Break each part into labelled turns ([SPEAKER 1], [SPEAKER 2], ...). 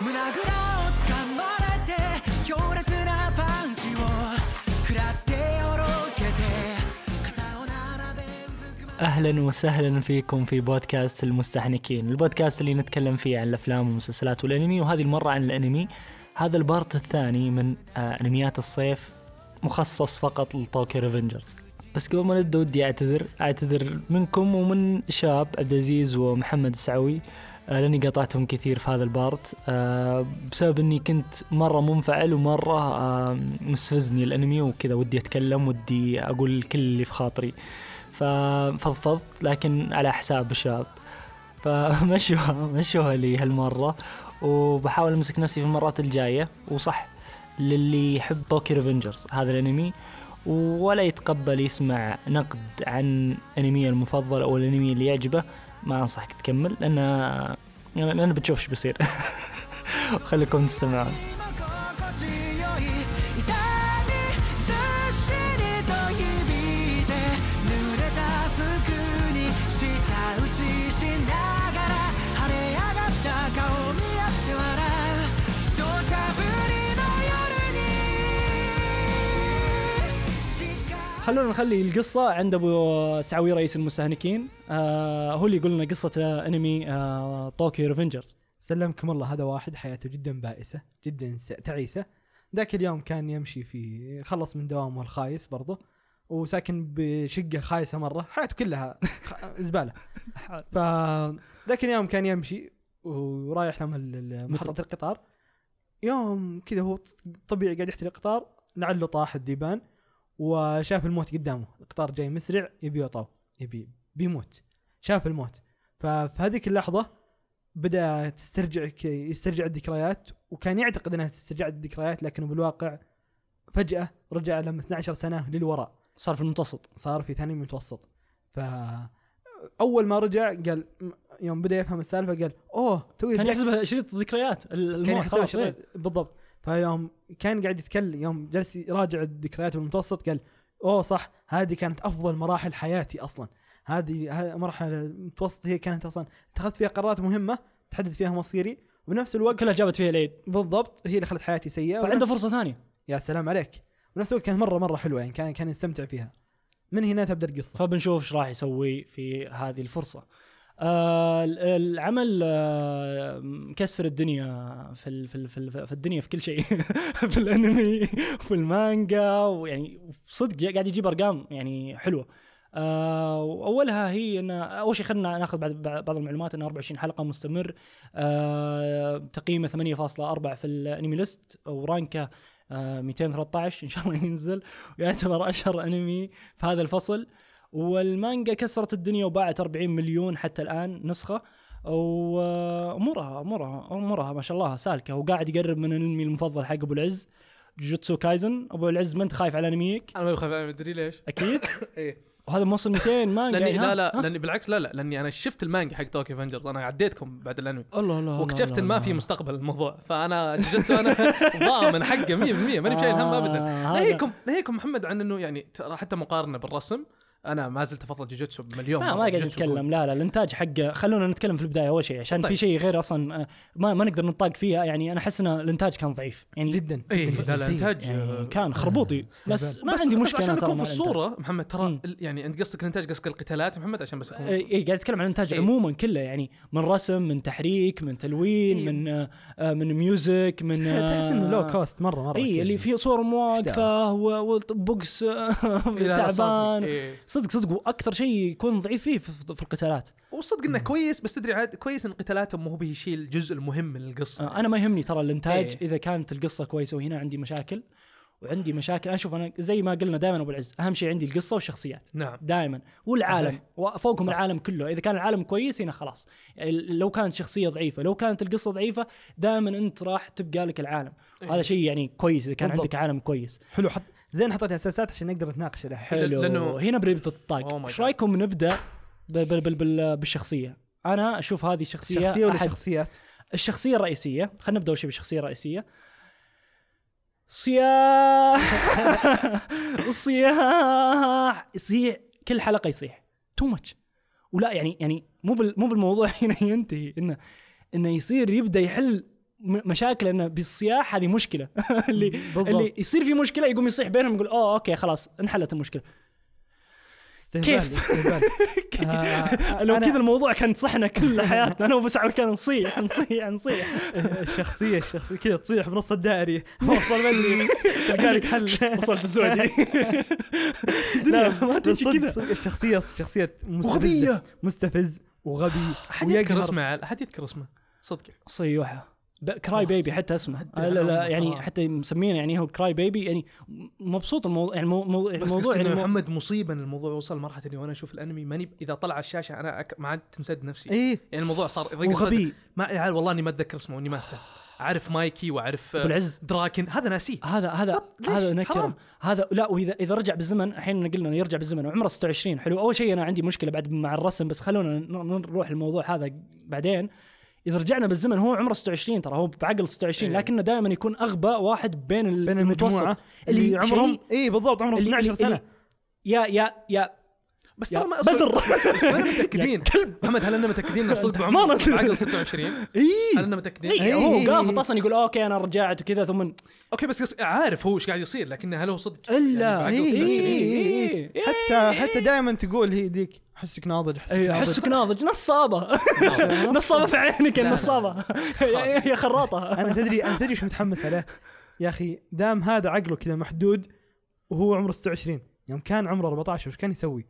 [SPEAKER 1] 胸ぐらを掴まれて強烈なパンチを食らっておろけて肩を並べうずくま
[SPEAKER 2] اهلا وسهلا فيكم في بودكاست المستحنكين، البودكاست اللي نتكلم فيه عن الافلام والمسلسلات والانمي وهذه المره عن الانمي. هذا البارت الثاني من آه، انميات الصيف مخصص فقط لطوكيو ريفنجرز. بس قبل ما نبدا ودي اعتذر، اعتذر منكم ومن شاب عبد العزيز ومحمد السعوي آه، لاني قطعتهم كثير في هذا البارت آه، بسبب اني كنت مره منفعل ومره آه، مستفزني الانمي وكذا ودي اتكلم ودي اقول كل اللي في خاطري. ففضفضت لكن على حساب الشباب فمشوها مشوها لي هالمرة وبحاول امسك نفسي في المرات الجاية وصح للي يحب طوكي ريفنجرز هذا الانمي ولا يتقبل يسمع نقد عن انمي المفضل او الانمي اللي يعجبه ما انصحك تكمل لان لان بتشوف ايش بيصير خليكم تستمعون
[SPEAKER 1] りも心地よい痛みずっしりと響いて濡れた服に舌打ちしながら晴れ上がった顔見合って笑う土砂降りの夜に近い
[SPEAKER 3] خلونا نخلي القصة عند أبو سعوي رئيس المستهلكين آه هو اللي يقول لنا قصة آه، أنمي آه طوكيو ريفنجرز
[SPEAKER 4] سلمكم الله هذا واحد حياته جدا بائسة جدا س- تعيسة ذاك اليوم كان يمشي في خلص من دوامه الخايس برضه وساكن بشقة خايسة مرة حياته كلها خ- زبالة فذاك اليوم كان يمشي ورايح لما ال- ال- محطة القطار يوم كذا هو ط- طبيعي قاعد يحتل القطار لعله طاح الديبان وشاف الموت قدامه القطار جاي مسرع يبي يطاو يبي بيموت شاف الموت ففي هذيك اللحظة بدأ تسترجع ك- يسترجع الذكريات وكان يعتقد انها تسترجع الذكريات لكنه بالواقع فجأة رجع لما 12 سنة للوراء
[SPEAKER 3] صار في المتوسط
[SPEAKER 4] صار في ثاني من المتوسط ف اول ما رجع قال يوم بدا يفهم السالفه قال اوه توي
[SPEAKER 3] كان
[SPEAKER 4] رجعت
[SPEAKER 3] يحسبها شريط ذكريات ال- الموت
[SPEAKER 4] كان يحسبها
[SPEAKER 3] خلاص، إيه.
[SPEAKER 4] شريط بالضبط فيوم كان قاعد يتكلم يوم جلس يراجع الذكريات بالمتوسط قال اوه صح هذه كانت افضل مراحل حياتي اصلا هذه ه- مرحله المتوسط هي كانت اصلا اتخذت فيها قرارات مهمه تحدد فيها مصيري وبنفس
[SPEAKER 3] إيه.
[SPEAKER 4] الوقت
[SPEAKER 3] كلها جابت فيها العيد
[SPEAKER 4] بالضبط هي اللي خلت حياتي سيئه
[SPEAKER 3] فعنده فرصة ثانية
[SPEAKER 4] يا سلام عليك بنفس الوقت كانت مره مره حلوه يعني كان كان يستمتع فيها من هنا تبدا القصه
[SPEAKER 3] فبنشوف ايش راح يسوي في هذه الفرصه آه ال- العمل آه مكسر الدنيا في ال- في ال- في, ال- في الدنيا في كل شيء في الانمي وفي المانجا ويعني صدق جا- قاعد يجيب ارقام يعني حلوه آه واولها هي ان اول شيء خلينا ناخذ بعض بعض بعض المعلومات انه 24 حلقه مستمر آه تقييمه 8.4 في الانمي ليست ورانكه آه 213 ان شاء الله ينزل ويعتبر اشهر انمي في هذا الفصل والمانجا كسرت الدنيا وباعت 40 مليون حتى الان نسخه وامورها امورها امورها ما شاء الله سالكه وقاعد يقرب من الانمي المفضل حق ابو العز جوجوتسو كايزن ابو العز ما انت خايف على انميك
[SPEAKER 5] انا ما بخاف أنا مدري ليش
[SPEAKER 3] اكيد
[SPEAKER 5] ايه
[SPEAKER 3] وهذا موصل 200 مانجا يعني،
[SPEAKER 5] لاني
[SPEAKER 3] ها؟
[SPEAKER 5] لا لا
[SPEAKER 3] ها؟
[SPEAKER 5] لاني بالعكس لا لا لاني انا شفت المانجا حق توكي فنجرز انا عديتكم بعد الانمي
[SPEAKER 3] الله الله
[SPEAKER 5] واكتشفت ان ما في مستقبل الموضوع فانا جوجيتسو انا ضامن حقه 100% ماني بشايل هم ابدا
[SPEAKER 3] ناهيكم
[SPEAKER 5] ناهيكم ناهيكم محمد عن انه يعني ترى حتى مقارنه بالرسم انا ما زلت افضل جوجيتسو بمليون
[SPEAKER 3] لا
[SPEAKER 5] مرة.
[SPEAKER 3] ما قاعد
[SPEAKER 5] جوجيتسو جول.
[SPEAKER 3] نتكلم لا لا الانتاج حقه خلونا نتكلم في البدايه اول شيء عشان في
[SPEAKER 5] طيب.
[SPEAKER 3] شيء غير اصلا آه، ما ما نقدر نطاق فيها يعني انا احس ان الانتاج كان ضعيف يعني
[SPEAKER 4] جدا
[SPEAKER 5] ايه
[SPEAKER 4] جداً
[SPEAKER 5] لا لا
[SPEAKER 4] سيء.
[SPEAKER 5] انتاج
[SPEAKER 3] يعني
[SPEAKER 5] آه،
[SPEAKER 3] كان خربوطي بس ما
[SPEAKER 5] بس-
[SPEAKER 3] عندي
[SPEAKER 5] بس
[SPEAKER 3] مشكله
[SPEAKER 5] عشان
[SPEAKER 3] ترى
[SPEAKER 5] اكون
[SPEAKER 3] مع
[SPEAKER 5] في
[SPEAKER 3] الإنتاج.
[SPEAKER 5] الصوره محمد
[SPEAKER 3] مم.
[SPEAKER 5] ترى ال- يعني انت قصدك الانتاج قصدك القتالات محمد عشان بس اكون
[SPEAKER 3] اي آه، قاعد اتكلم عن الانتاج
[SPEAKER 5] إيه.
[SPEAKER 3] عموما كله يعني من رسم من تحريك من تلوين
[SPEAKER 5] إيه.
[SPEAKER 3] من آه، آه، من ميوزك من آه،
[SPEAKER 4] تحس انه لو كوست مره مره
[SPEAKER 3] اي
[SPEAKER 4] كذا.
[SPEAKER 3] إيه، اللي فيه صور مواقفه و- وبوكس آه،
[SPEAKER 5] إلى إيه، لا صادق.
[SPEAKER 3] تعبان
[SPEAKER 5] إيه.
[SPEAKER 3] صدق صدق واكثر شيء يكون ضعيف فيه في في القتالات آه،
[SPEAKER 5] وصدق انه كويس بس تدري عاد كويس ان قتالاته مو هو بيشيل الجزء المهم من القصه
[SPEAKER 3] آه، انا ما يهمني ترى الانتاج
[SPEAKER 5] إيه.
[SPEAKER 3] اذا كانت القصه كويسه وهنا عندي مشاكل وعندي مشاكل انا اشوف انا زي ما قلنا دائما ابو العز اهم شيء عندي القصه والشخصيات
[SPEAKER 5] نعم
[SPEAKER 3] دائما والعالم
[SPEAKER 5] صحيح.
[SPEAKER 3] وفوقهم
[SPEAKER 5] صح.
[SPEAKER 3] العالم كله اذا كان العالم كويس هنا خلاص يعني لو كانت شخصيه ضعيفه لو كانت القصه ضعيفه دائما انت راح تبقى لك العالم
[SPEAKER 5] إيه.
[SPEAKER 3] هذا شيء يعني كويس اذا كان
[SPEAKER 4] بالضبط.
[SPEAKER 3] عندك عالم كويس
[SPEAKER 4] حلو حط زين حطيت اساسات عشان نقدر نتناقش لها
[SPEAKER 3] حلو لأنه
[SPEAKER 5] لأنه-
[SPEAKER 3] هنا بريبة
[SPEAKER 5] Oh
[SPEAKER 3] الطاق
[SPEAKER 5] my
[SPEAKER 3] ايش
[SPEAKER 5] God.
[SPEAKER 3] رايكم نبدا بال بال بال بال بالشخصيه انا اشوف هذه الشخصيه
[SPEAKER 4] شخصيه ولا
[SPEAKER 3] أحد-
[SPEAKER 4] شخصيات؟
[SPEAKER 3] الشخصيه الرئيسيه خلينا نبدا اول شيء بالشخصيه الرئيسيه صياح صياح يصيح كل حلقه يصيح تو ماتش ولا يعني يعني مو بال مو بالموضوع هنا ينتهي انه انه يصير يبدا يحل م- مشاكل انه بالصياح هذه مشكله اللي
[SPEAKER 4] بالضبط.
[SPEAKER 3] اللي يصير في مشكله يقوم يصيح بينهم يقول اوه اوكي خلاص انحلت المشكله
[SPEAKER 4] استهبال
[SPEAKER 3] كيف؟
[SPEAKER 4] استهبال آه،
[SPEAKER 3] لو
[SPEAKER 4] أنا-
[SPEAKER 3] كذا الموضوع كان صحنا كل حياتنا انا وابو سعود كان نصيح نصيح نصيح
[SPEAKER 4] الشخصيه الشخصيه كذا تصيح بنص الدائري ما وصل بدري تلقى لك حل
[SPEAKER 3] وصلت السعودي
[SPEAKER 4] لا
[SPEAKER 3] ما تمشي
[SPEAKER 4] صدق-
[SPEAKER 3] كذا.
[SPEAKER 4] صدق الشخصيه شخصيه
[SPEAKER 3] وغبية.
[SPEAKER 4] مستفزه مستفز وغبي
[SPEAKER 5] حد يذكر
[SPEAKER 4] ويقهر.
[SPEAKER 5] اسمه عاد، حد يذكر اسمه صدق
[SPEAKER 3] صيوحه ب- كراي
[SPEAKER 5] خلاص.
[SPEAKER 3] بيبي حتى اسمه لا لا يعني حتى مسمينه يعني هو كراي بيبي يعني مبسوط الموضوع يعني مو- مو-
[SPEAKER 5] بس
[SPEAKER 3] الموضوع
[SPEAKER 5] الموضوع
[SPEAKER 3] يعني
[SPEAKER 5] يعني
[SPEAKER 3] مو-
[SPEAKER 5] محمد مصيبا الموضوع وصل مرحله اني وانا اشوف الانمي ماني اذا طلع على الشاشه انا أك... ما عاد تنسد نفسي
[SPEAKER 3] إيه.
[SPEAKER 4] ايه
[SPEAKER 5] يعني الموضوع صار يضيق الصدر.
[SPEAKER 3] وغبي
[SPEAKER 5] ما يا عيال والله اني ما اتذكر اسمه اني ما استاهل اعرف مايكي واعرف آه،
[SPEAKER 3] أبو العز.
[SPEAKER 5] دراكن هذا ناسيه
[SPEAKER 3] هذا هذا
[SPEAKER 5] بط- ليش؟
[SPEAKER 3] هذا
[SPEAKER 5] حرام.
[SPEAKER 3] نكره هذا لا واذا اذا رجع بالزمن الحين إنه قلنا يرجع بالزمن وعمره 26 حلو اول شيء انا عندي مشكله بعد مع الرسم بس خلونا ن- نروح الموضوع هذا بعدين اذا رجعنا بالزمن هو عمره 26 ترى هو بعقل 26
[SPEAKER 5] إيه.
[SPEAKER 3] لكنه دائما يكون اغبى واحد بين ال-
[SPEAKER 4] بين
[SPEAKER 3] المتوسط
[SPEAKER 4] المجموعه اللي
[SPEAKER 3] اللي
[SPEAKER 4] عمرهم
[SPEAKER 3] شيء-
[SPEAKER 4] اي بالضبط عمرهم
[SPEAKER 3] اللي-
[SPEAKER 4] 12
[SPEAKER 3] اللي-
[SPEAKER 4] سنه
[SPEAKER 3] يا يا يا
[SPEAKER 5] بس
[SPEAKER 3] يا
[SPEAKER 5] ترى ما
[SPEAKER 3] بزر.
[SPEAKER 5] ما متاكدين كلب محمد هل انا متاكدين ان صدق
[SPEAKER 3] ما-
[SPEAKER 5] بعمر بعقل 26 هل
[SPEAKER 4] اي
[SPEAKER 5] انا متاكدين
[SPEAKER 3] إيه،
[SPEAKER 4] إيه، إيه،
[SPEAKER 3] هو قافط
[SPEAKER 4] إيه. يعني
[SPEAKER 3] اصلا يقول اوكي انا رجعت وكذا ثم
[SPEAKER 5] اوكي بس قص- عارف هو ايش قاعد يصير لكن هل هو صدق
[SPEAKER 3] الا
[SPEAKER 5] يعني بعقل
[SPEAKER 4] إيه،
[SPEAKER 5] 26
[SPEAKER 4] إيه، إيه.
[SPEAKER 3] إيه.
[SPEAKER 4] حتى حتى دائما تقول هي ذيك احسك ناضج احسك
[SPEAKER 3] إيه،
[SPEAKER 4] ناضج
[SPEAKER 3] احسك ناضج نصابه
[SPEAKER 4] نعم.
[SPEAKER 3] نصابه في عينك
[SPEAKER 5] لا، لا.
[SPEAKER 3] النصابه يا يا خراطه
[SPEAKER 4] انا تدري انا تدري شو متحمس عليه يا اخي دام هذا عقله كذا محدود وهو عمره 26 يوم كان عمره 14 وش كان يسوي؟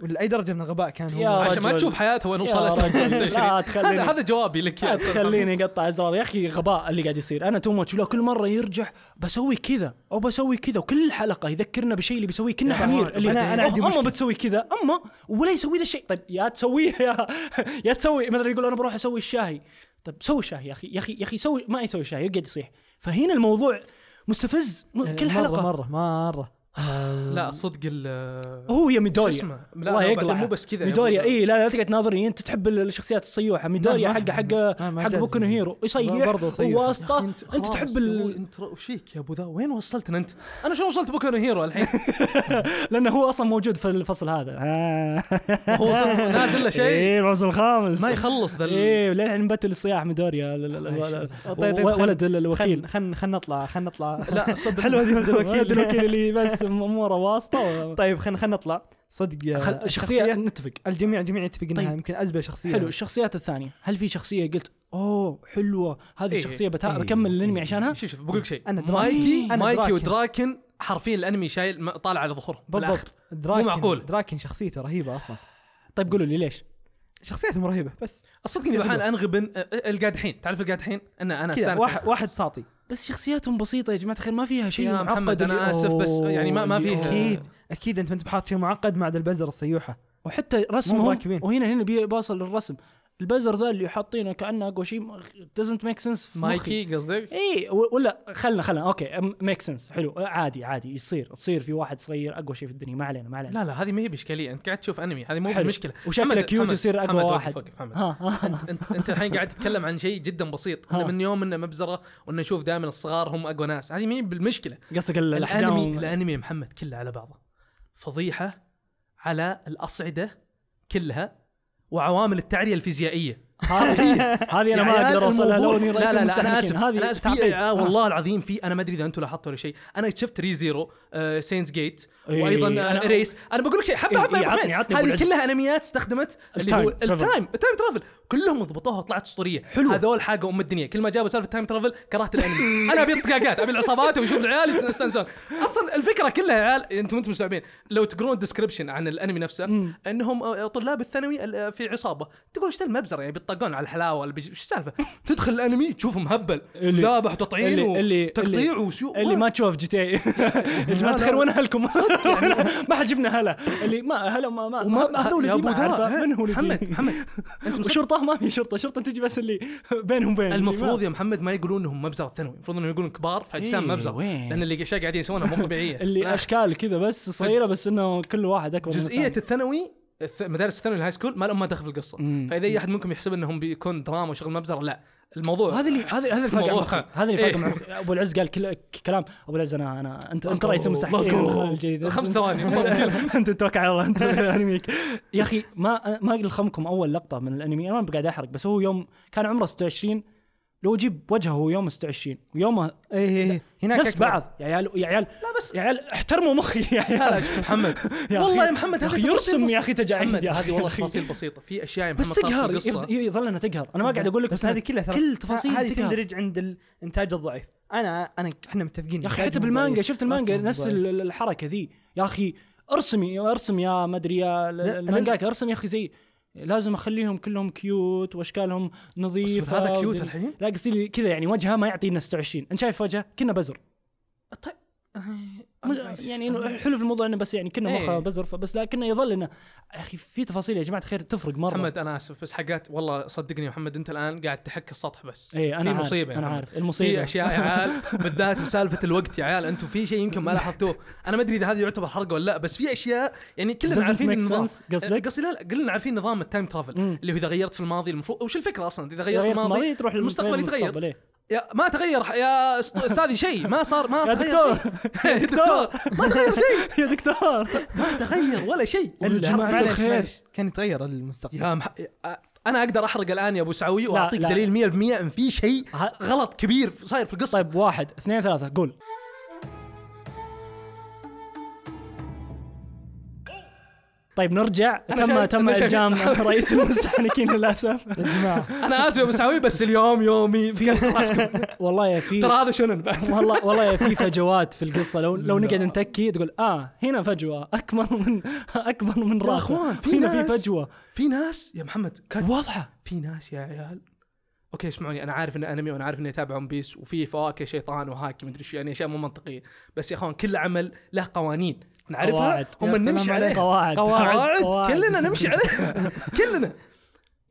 [SPEAKER 4] لاي درجه من الغباء كان
[SPEAKER 3] يا
[SPEAKER 4] هو؟
[SPEAKER 5] عشان ما
[SPEAKER 3] رجل.
[SPEAKER 5] تشوف حياته وين
[SPEAKER 3] يا
[SPEAKER 5] وصلت
[SPEAKER 3] رجل، لا
[SPEAKER 5] 26
[SPEAKER 3] تخليني.
[SPEAKER 5] هذا هذا جوابي لك يا
[SPEAKER 3] لا
[SPEAKER 5] أستاذ
[SPEAKER 3] تخليني اقطع ازرار يا اخي غباء اللي قاعد يصير انا تو ماتش لو كل مره يرجع بسوي كذا او بسوي كذا وكل حلقه يذكرنا بشيء اللي بيسويه كنا
[SPEAKER 4] يا
[SPEAKER 3] حمير
[SPEAKER 4] حمار،
[SPEAKER 3] اللي
[SPEAKER 4] أنا- أنا عندي
[SPEAKER 3] اما
[SPEAKER 4] مشكلة.
[SPEAKER 3] بتسوي كذا اما ولا يسوي ذا الشيء طيب يا تسويه يا يا تسوي مثلا يقول انا بروح اسوي الشاهي طيب سوي الشاهي يا اخي يا اخي يا اخي سوي ما يسوي الشاهي يقعد يصيح فهنا الموضوع مستفز م-
[SPEAKER 4] يعني
[SPEAKER 3] كل حلقه
[SPEAKER 4] مره مره مره
[SPEAKER 5] محمد. لا صدق ال
[SPEAKER 3] هو يا
[SPEAKER 5] شو
[SPEAKER 3] ميدوريا
[SPEAKER 5] اسمه لا
[SPEAKER 3] الله
[SPEAKER 5] لا
[SPEAKER 3] يقلع
[SPEAKER 5] بعدين مو بس كذا يا
[SPEAKER 3] ميدوريا
[SPEAKER 5] أبو-
[SPEAKER 3] اي لا لا تقعد تناظرني انت تحب الشخصيات الصيوحه ميدوريا
[SPEAKER 4] ما-
[SPEAKER 3] حق حق
[SPEAKER 4] ما- ما
[SPEAKER 3] حق
[SPEAKER 4] جاز.
[SPEAKER 3] بوكو هيرو
[SPEAKER 4] لا،
[SPEAKER 3] يصيح
[SPEAKER 4] برضه صيوح.
[SPEAKER 5] يا
[SPEAKER 3] وواسطه
[SPEAKER 5] أخي
[SPEAKER 3] انت,
[SPEAKER 5] خلاص،
[SPEAKER 3] تحب
[SPEAKER 5] هو
[SPEAKER 3] ال...
[SPEAKER 5] انت وشيك يا ابو ذا وين وصلتنا انت؟ انا شلون وصلت بوكو هيرو الحين؟
[SPEAKER 3] لانه هو اصلا موجود في الفصل هذا آه.
[SPEAKER 5] هو وصل- نازل له شيء
[SPEAKER 3] ايه الموسم الخامس
[SPEAKER 5] ما يخلص ذا ال-
[SPEAKER 3] ايه وللحين مبتل الصياح ميدوريا ال- ال- ال- ال-
[SPEAKER 4] طيب طيب
[SPEAKER 3] و- ولد ال- الوكيل
[SPEAKER 4] خلنا خلنا نطلع خلنا نطلع
[SPEAKER 5] لا صدق
[SPEAKER 4] حلوه هذه ولد
[SPEAKER 3] الوكيل
[SPEAKER 4] الوكيل
[SPEAKER 3] الوكيل اللي بس اموره واسطه و-
[SPEAKER 4] طيب خلنا خلنا نطلع صدق يا-
[SPEAKER 3] خل- الشخصيه نتفق
[SPEAKER 4] الجميع جميع يتفق انها
[SPEAKER 3] طيب.
[SPEAKER 4] يمكن ازبل شخصيه
[SPEAKER 3] حلو الشخصيات الثانيه هل في شخصيه قلت اوه حلوه هذه
[SPEAKER 5] إيه.
[SPEAKER 3] الشخصيه بتا...
[SPEAKER 4] إيه.
[SPEAKER 3] بكمل الانمي عشانها
[SPEAKER 5] شوف شوف بقول لك شيء
[SPEAKER 4] أنا دراكن.
[SPEAKER 5] مايكي
[SPEAKER 4] أنا
[SPEAKER 5] مايكي
[SPEAKER 4] دراكن.
[SPEAKER 5] ودراكن حرفيا الانمي شايل م- طالع على ظهورهم بالآخر.
[SPEAKER 4] بالضبط دراكن
[SPEAKER 5] مو معقول.
[SPEAKER 4] دراكن شخصيته رهيبه اصلا
[SPEAKER 3] طيب قولوا لي ليش
[SPEAKER 4] شخصيتهم رهيبه بس
[SPEAKER 5] صدقني الحين انغبن أه، القادحين تعرف القادحين انا انا
[SPEAKER 4] كذا
[SPEAKER 5] استانس
[SPEAKER 4] واحد واحد ساطي
[SPEAKER 3] بس شخصياتهم بسيطه يا جماعه الخير ما فيها شيء
[SPEAKER 5] يا
[SPEAKER 3] معقد
[SPEAKER 5] محمد
[SPEAKER 3] اللي-
[SPEAKER 5] انا اسف بس يعني ما ما
[SPEAKER 3] أوه،
[SPEAKER 5] فيه
[SPEAKER 4] اكيد اكيد انت انت بحاط شيء معقد مع ذا البزر الصيوحه
[SPEAKER 3] وحتى
[SPEAKER 4] مو
[SPEAKER 3] رسمهم
[SPEAKER 4] مراكبين.
[SPEAKER 3] وهنا هنا بي- بوصل للرسم البزر ذا اللي حاطينه كانه اقوى شيء دزنت ميك سنس في مخي
[SPEAKER 5] مايكي قصدك
[SPEAKER 3] اي و- ولا خلنا خلنا اوكي ميك سنس حلو عادي عادي يصير تصير في واحد صغير اقوى شيء في الدنيا ما علينا ما علينا
[SPEAKER 5] لا لا هذه ما هي باشكاليه انت قاعد تشوف انمي هذه مو
[SPEAKER 3] حلو.
[SPEAKER 5] المشكله
[SPEAKER 3] وشكله
[SPEAKER 5] محمد-
[SPEAKER 3] كيوت
[SPEAKER 5] محمد-
[SPEAKER 3] يصير أقوى
[SPEAKER 5] محمد، وقف،
[SPEAKER 3] واحد.
[SPEAKER 5] وقف، محمد.
[SPEAKER 3] ها ها
[SPEAKER 5] انت انت الحين قاعد تتكلم عن شيء جدا بسيط
[SPEAKER 3] ها.
[SPEAKER 5] إنه من يوم انه مبزره وانه نشوف دائما الصغار هم اقوى ناس هذه ما هي بالمشكله
[SPEAKER 3] قصدك ال-
[SPEAKER 5] الانمي
[SPEAKER 3] الاحجام
[SPEAKER 5] الانمي يا محمد كله على بعضه فضيحه على الاصعده كلها وعوامل التعريه الفيزيائيه
[SPEAKER 3] هذه هذه انا ما
[SPEAKER 5] يعني
[SPEAKER 3] اقدر اوصلها لو
[SPEAKER 5] الموضوع-
[SPEAKER 3] اني رئيس
[SPEAKER 5] لا لا لا انا
[SPEAKER 3] المستحنكين.
[SPEAKER 5] اسف
[SPEAKER 3] هذه
[SPEAKER 5] انا اسف في
[SPEAKER 3] تعقيد.
[SPEAKER 5] آه والله العظيم في انا ما ادري اذا انتم لاحظتوا ولا شيء انا شفت ري زيرو آه سينس جيت
[SPEAKER 3] إيه،
[SPEAKER 5] وايضا
[SPEAKER 3] أنا-
[SPEAKER 5] آه ريس انا بقول لك شيء حبه
[SPEAKER 3] إيه،
[SPEAKER 5] حبه
[SPEAKER 3] إيه، عطني-
[SPEAKER 5] حبة.
[SPEAKER 3] عطني أبو
[SPEAKER 5] هذه
[SPEAKER 3] العز.
[SPEAKER 5] كلها انميات استخدمت اللي هو
[SPEAKER 3] التايم ترافل.
[SPEAKER 5] التايم التايم ترافل كلهم ضبطوها وطلعت اسطوريه
[SPEAKER 3] حلو.
[SPEAKER 5] هذول حاجه ام الدنيا كل ما جابوا سالفه تايم ترافل كرهت الانمي انا ابي الطقاقات ابي العصابات واشوف العيال يستانسون اصلا الفكره كلها يا عيال انتم انتم مستوعبين لو تقرون الديسكربشن عن الانمي نفسه
[SPEAKER 3] مم.
[SPEAKER 5] انهم آه، طلاب الثانوي ال- آه، في عصابه تقول ايش ذا المبزر يعني بيطقون على الحلاوه اللي بيجي- ايش السالفه تدخل الانمي تشوفه مهبل
[SPEAKER 3] اللي-
[SPEAKER 5] ذابح وتطعين
[SPEAKER 3] اللي- اللي-
[SPEAKER 5] وتقطيع وسيو
[SPEAKER 3] اللي ما تشوف جي تي إيه. اي يا جماعه الخير وين اهلكم؟
[SPEAKER 5] يعني.
[SPEAKER 3] ما حد جبنا هلا اللي ما هلا ما ما ما هذول
[SPEAKER 5] يا
[SPEAKER 3] اللي
[SPEAKER 5] أبو
[SPEAKER 3] ما
[SPEAKER 5] ذا،
[SPEAKER 3] عارفه
[SPEAKER 5] ها،
[SPEAKER 3] من هو اللي
[SPEAKER 5] محمد
[SPEAKER 3] دي؟
[SPEAKER 5] محمد انت مصدق؟
[SPEAKER 3] وشرطه ما في شرطه شرطه تجي بس اللي بينهم بين
[SPEAKER 5] المفروض يا محمد ما يقولون انهم مبزر الثانوي المفروض انهم يقولون كبار في اجسام
[SPEAKER 3] إيه،
[SPEAKER 5] مبزر
[SPEAKER 3] وين؟
[SPEAKER 5] لان اللي اشياء قاعدين يسوونها مو طبيعيه
[SPEAKER 3] اللي
[SPEAKER 5] لا. طيب.
[SPEAKER 3] اشكال كذا بس صغيره بس انه كل واحد اكبر من
[SPEAKER 5] جزئيه
[SPEAKER 3] الثاني.
[SPEAKER 5] الثانوي الث- مدارس الثانوي الهاي سكول ما لهم ما دخل في القصه
[SPEAKER 3] مم.
[SPEAKER 5] فاذا اي احد منكم يحسب انهم بيكون دراما وشغل مبزر لا الموضوع
[SPEAKER 3] هذا اللي هذا هذا الفرق عن
[SPEAKER 5] الموضوع.
[SPEAKER 3] مخي. هذا اللي فرق
[SPEAKER 5] إيه.
[SPEAKER 3] عن مخي. ابو العز قال كل كلام ابو العز انا انا انت انت رئيس المستحقين الجديد
[SPEAKER 5] خمس ثواني
[SPEAKER 3] انت انت توكل على الله انت انميك يا اخي ما ما الخمكم اول لقطه من الانمي انا ما قاعد احرق بس هو يوم كان عمره 26 لو اجيب وجهه يوم 26 ويومه
[SPEAKER 4] اي اي اي هناك
[SPEAKER 3] إيه، نفس
[SPEAKER 4] أكبر.
[SPEAKER 3] بعض يا عيال يا عيال
[SPEAKER 5] لا بس
[SPEAKER 3] يا عيال احترموا مخي يا
[SPEAKER 5] لا لا
[SPEAKER 3] عيال
[SPEAKER 5] شوف محمد
[SPEAKER 3] يا أخي-
[SPEAKER 5] والله يا محمد
[SPEAKER 3] يا
[SPEAKER 5] هذه
[SPEAKER 3] أخي
[SPEAKER 5] تفاصيل
[SPEAKER 3] يرسم يا
[SPEAKER 5] بسيطة.
[SPEAKER 3] اخي تجاعيد
[SPEAKER 5] محمد
[SPEAKER 3] يا
[SPEAKER 5] هذه
[SPEAKER 3] أخي.
[SPEAKER 5] والله تفاصيل بسيطة في اشياء يا محمد
[SPEAKER 3] بس
[SPEAKER 5] صارت في
[SPEAKER 3] تقهر
[SPEAKER 5] القصة.
[SPEAKER 3] يبد- يظل انها تقهر انا ما قاعد اقول لك
[SPEAKER 4] بس
[SPEAKER 3] بس
[SPEAKER 4] هذه كلها ترى
[SPEAKER 3] كل تفاصيل
[SPEAKER 4] هذه
[SPEAKER 3] تقهر.
[SPEAKER 4] تندرج عند الانتاج الضعيف انا انا احنا متفقين
[SPEAKER 3] يا اخي
[SPEAKER 4] إنتاجهم
[SPEAKER 3] حتى بالمانجا
[SPEAKER 4] ضعيف.
[SPEAKER 3] شفت المانجا
[SPEAKER 4] رسمهم
[SPEAKER 3] نفس
[SPEAKER 4] ضعيف.
[SPEAKER 3] ال- ال- الحركه ذي يا اخي ارسمي ارسم يا ما ادري يا ال-
[SPEAKER 4] لا،
[SPEAKER 3] المانجاكا ارسم يا اخي زي لازم اخليهم كلهم كيوت واشكالهم نظيفه
[SPEAKER 5] هذا كيوت
[SPEAKER 3] ودل-
[SPEAKER 5] الحين؟
[SPEAKER 3] لا قصدي لي كذا يعني وجهه ما يعطينا 26 انت شايف وجهه كنا بزر
[SPEAKER 5] طيب
[SPEAKER 3] مج- يعني إنه حلو في الموضوع انه بس يعني كنا
[SPEAKER 5] إيه.
[SPEAKER 3] مخه بزر فبس لكنه يظل انه يا اخي في تفاصيل يا جماعه الخير تفرق مره
[SPEAKER 5] محمد انا اسف بس حقات والله صدقني يا محمد انت الان قاعد تحك السطح بس
[SPEAKER 3] اي انا
[SPEAKER 5] في
[SPEAKER 3] إيه،
[SPEAKER 5] يعني.
[SPEAKER 3] عارف
[SPEAKER 5] مصيبه يا
[SPEAKER 3] انا
[SPEAKER 5] محمد.
[SPEAKER 3] عارف المصيبه
[SPEAKER 5] في اشياء يا عيال بالذات مسالفه الوقت يا عيال انتم في شيء يمكن ما لاحظتوه انا ما ادري اذا هذا يعتبر حرقه ولا لا بس في اشياء يعني كلنا
[SPEAKER 3] Doesn't
[SPEAKER 5] عارفين
[SPEAKER 3] make
[SPEAKER 5] النظام إيه،
[SPEAKER 3] sense، قصدك؟
[SPEAKER 5] قصدي لا لا كلنا عارفين نظام التايم ترافل
[SPEAKER 3] مم.
[SPEAKER 5] اللي هو اذا غيرت في الماضي المفروض وش الفكره اصلا اذا
[SPEAKER 3] تغير
[SPEAKER 5] غيرت
[SPEAKER 3] في الماضي
[SPEAKER 5] الماضي
[SPEAKER 3] تروح
[SPEAKER 5] المستقبل يتغير
[SPEAKER 3] للمستقبل، إيه.
[SPEAKER 5] يا ما تغير ح- يا است- استاذي شيء ما صار ما
[SPEAKER 3] يا
[SPEAKER 5] تغير
[SPEAKER 3] دكتور
[SPEAKER 5] شيء. يا دكتور ما تغير شيء
[SPEAKER 3] يا دكتور
[SPEAKER 5] ما تغير ولا شيء
[SPEAKER 4] إلا-
[SPEAKER 3] جماعة
[SPEAKER 4] معلش-
[SPEAKER 3] الخير.
[SPEAKER 4] معلش. كان يتغير المستقبل
[SPEAKER 5] يا مح... يا- انا اقدر احرق الان يا ابو سعوي واعطيك
[SPEAKER 3] لا.
[SPEAKER 5] دليل 100% ان في شيء
[SPEAKER 3] ه-
[SPEAKER 5] غلط كبير صاير في القصه
[SPEAKER 3] طيب واحد اثنين ثلاثة قول طيب نرجع
[SPEAKER 5] أنا
[SPEAKER 3] تم
[SPEAKER 5] شايف-
[SPEAKER 3] تم
[SPEAKER 5] أنا شايف-
[SPEAKER 3] الجام رئيس المستحنكين للاسف
[SPEAKER 4] يا جماعه
[SPEAKER 5] انا اسف يا ابو سعوي بس اليوم يومي في صراحتكم
[SPEAKER 3] والله يا في
[SPEAKER 5] ترى هذا شنن بعد
[SPEAKER 3] والله والله يا في فجوات في القصه لو لو نقعد نتكي تقول اه هنا فجوه اكبر من اكبر من
[SPEAKER 5] يا
[SPEAKER 3] راسه
[SPEAKER 5] أخوان، في
[SPEAKER 3] هنا في
[SPEAKER 5] ناس-
[SPEAKER 3] فجوه
[SPEAKER 5] في ناس يا محمد كات
[SPEAKER 3] واضحه
[SPEAKER 5] في ناس يا عيال اوكي اسمعوني انا عارف انه انمي وانا عارف انه يتابع ون بيس وفي فواكه شيطان وهاكي مدري شو يعني اشياء مو منطقيه بس يا اخوان كل عمل له قوانين نعرفها
[SPEAKER 3] قواعد.
[SPEAKER 5] هم
[SPEAKER 4] يا سلام
[SPEAKER 5] نمشي
[SPEAKER 4] عليك.
[SPEAKER 5] عليها
[SPEAKER 3] قواعد
[SPEAKER 5] قواعد, كلنا نمشي عليها كلنا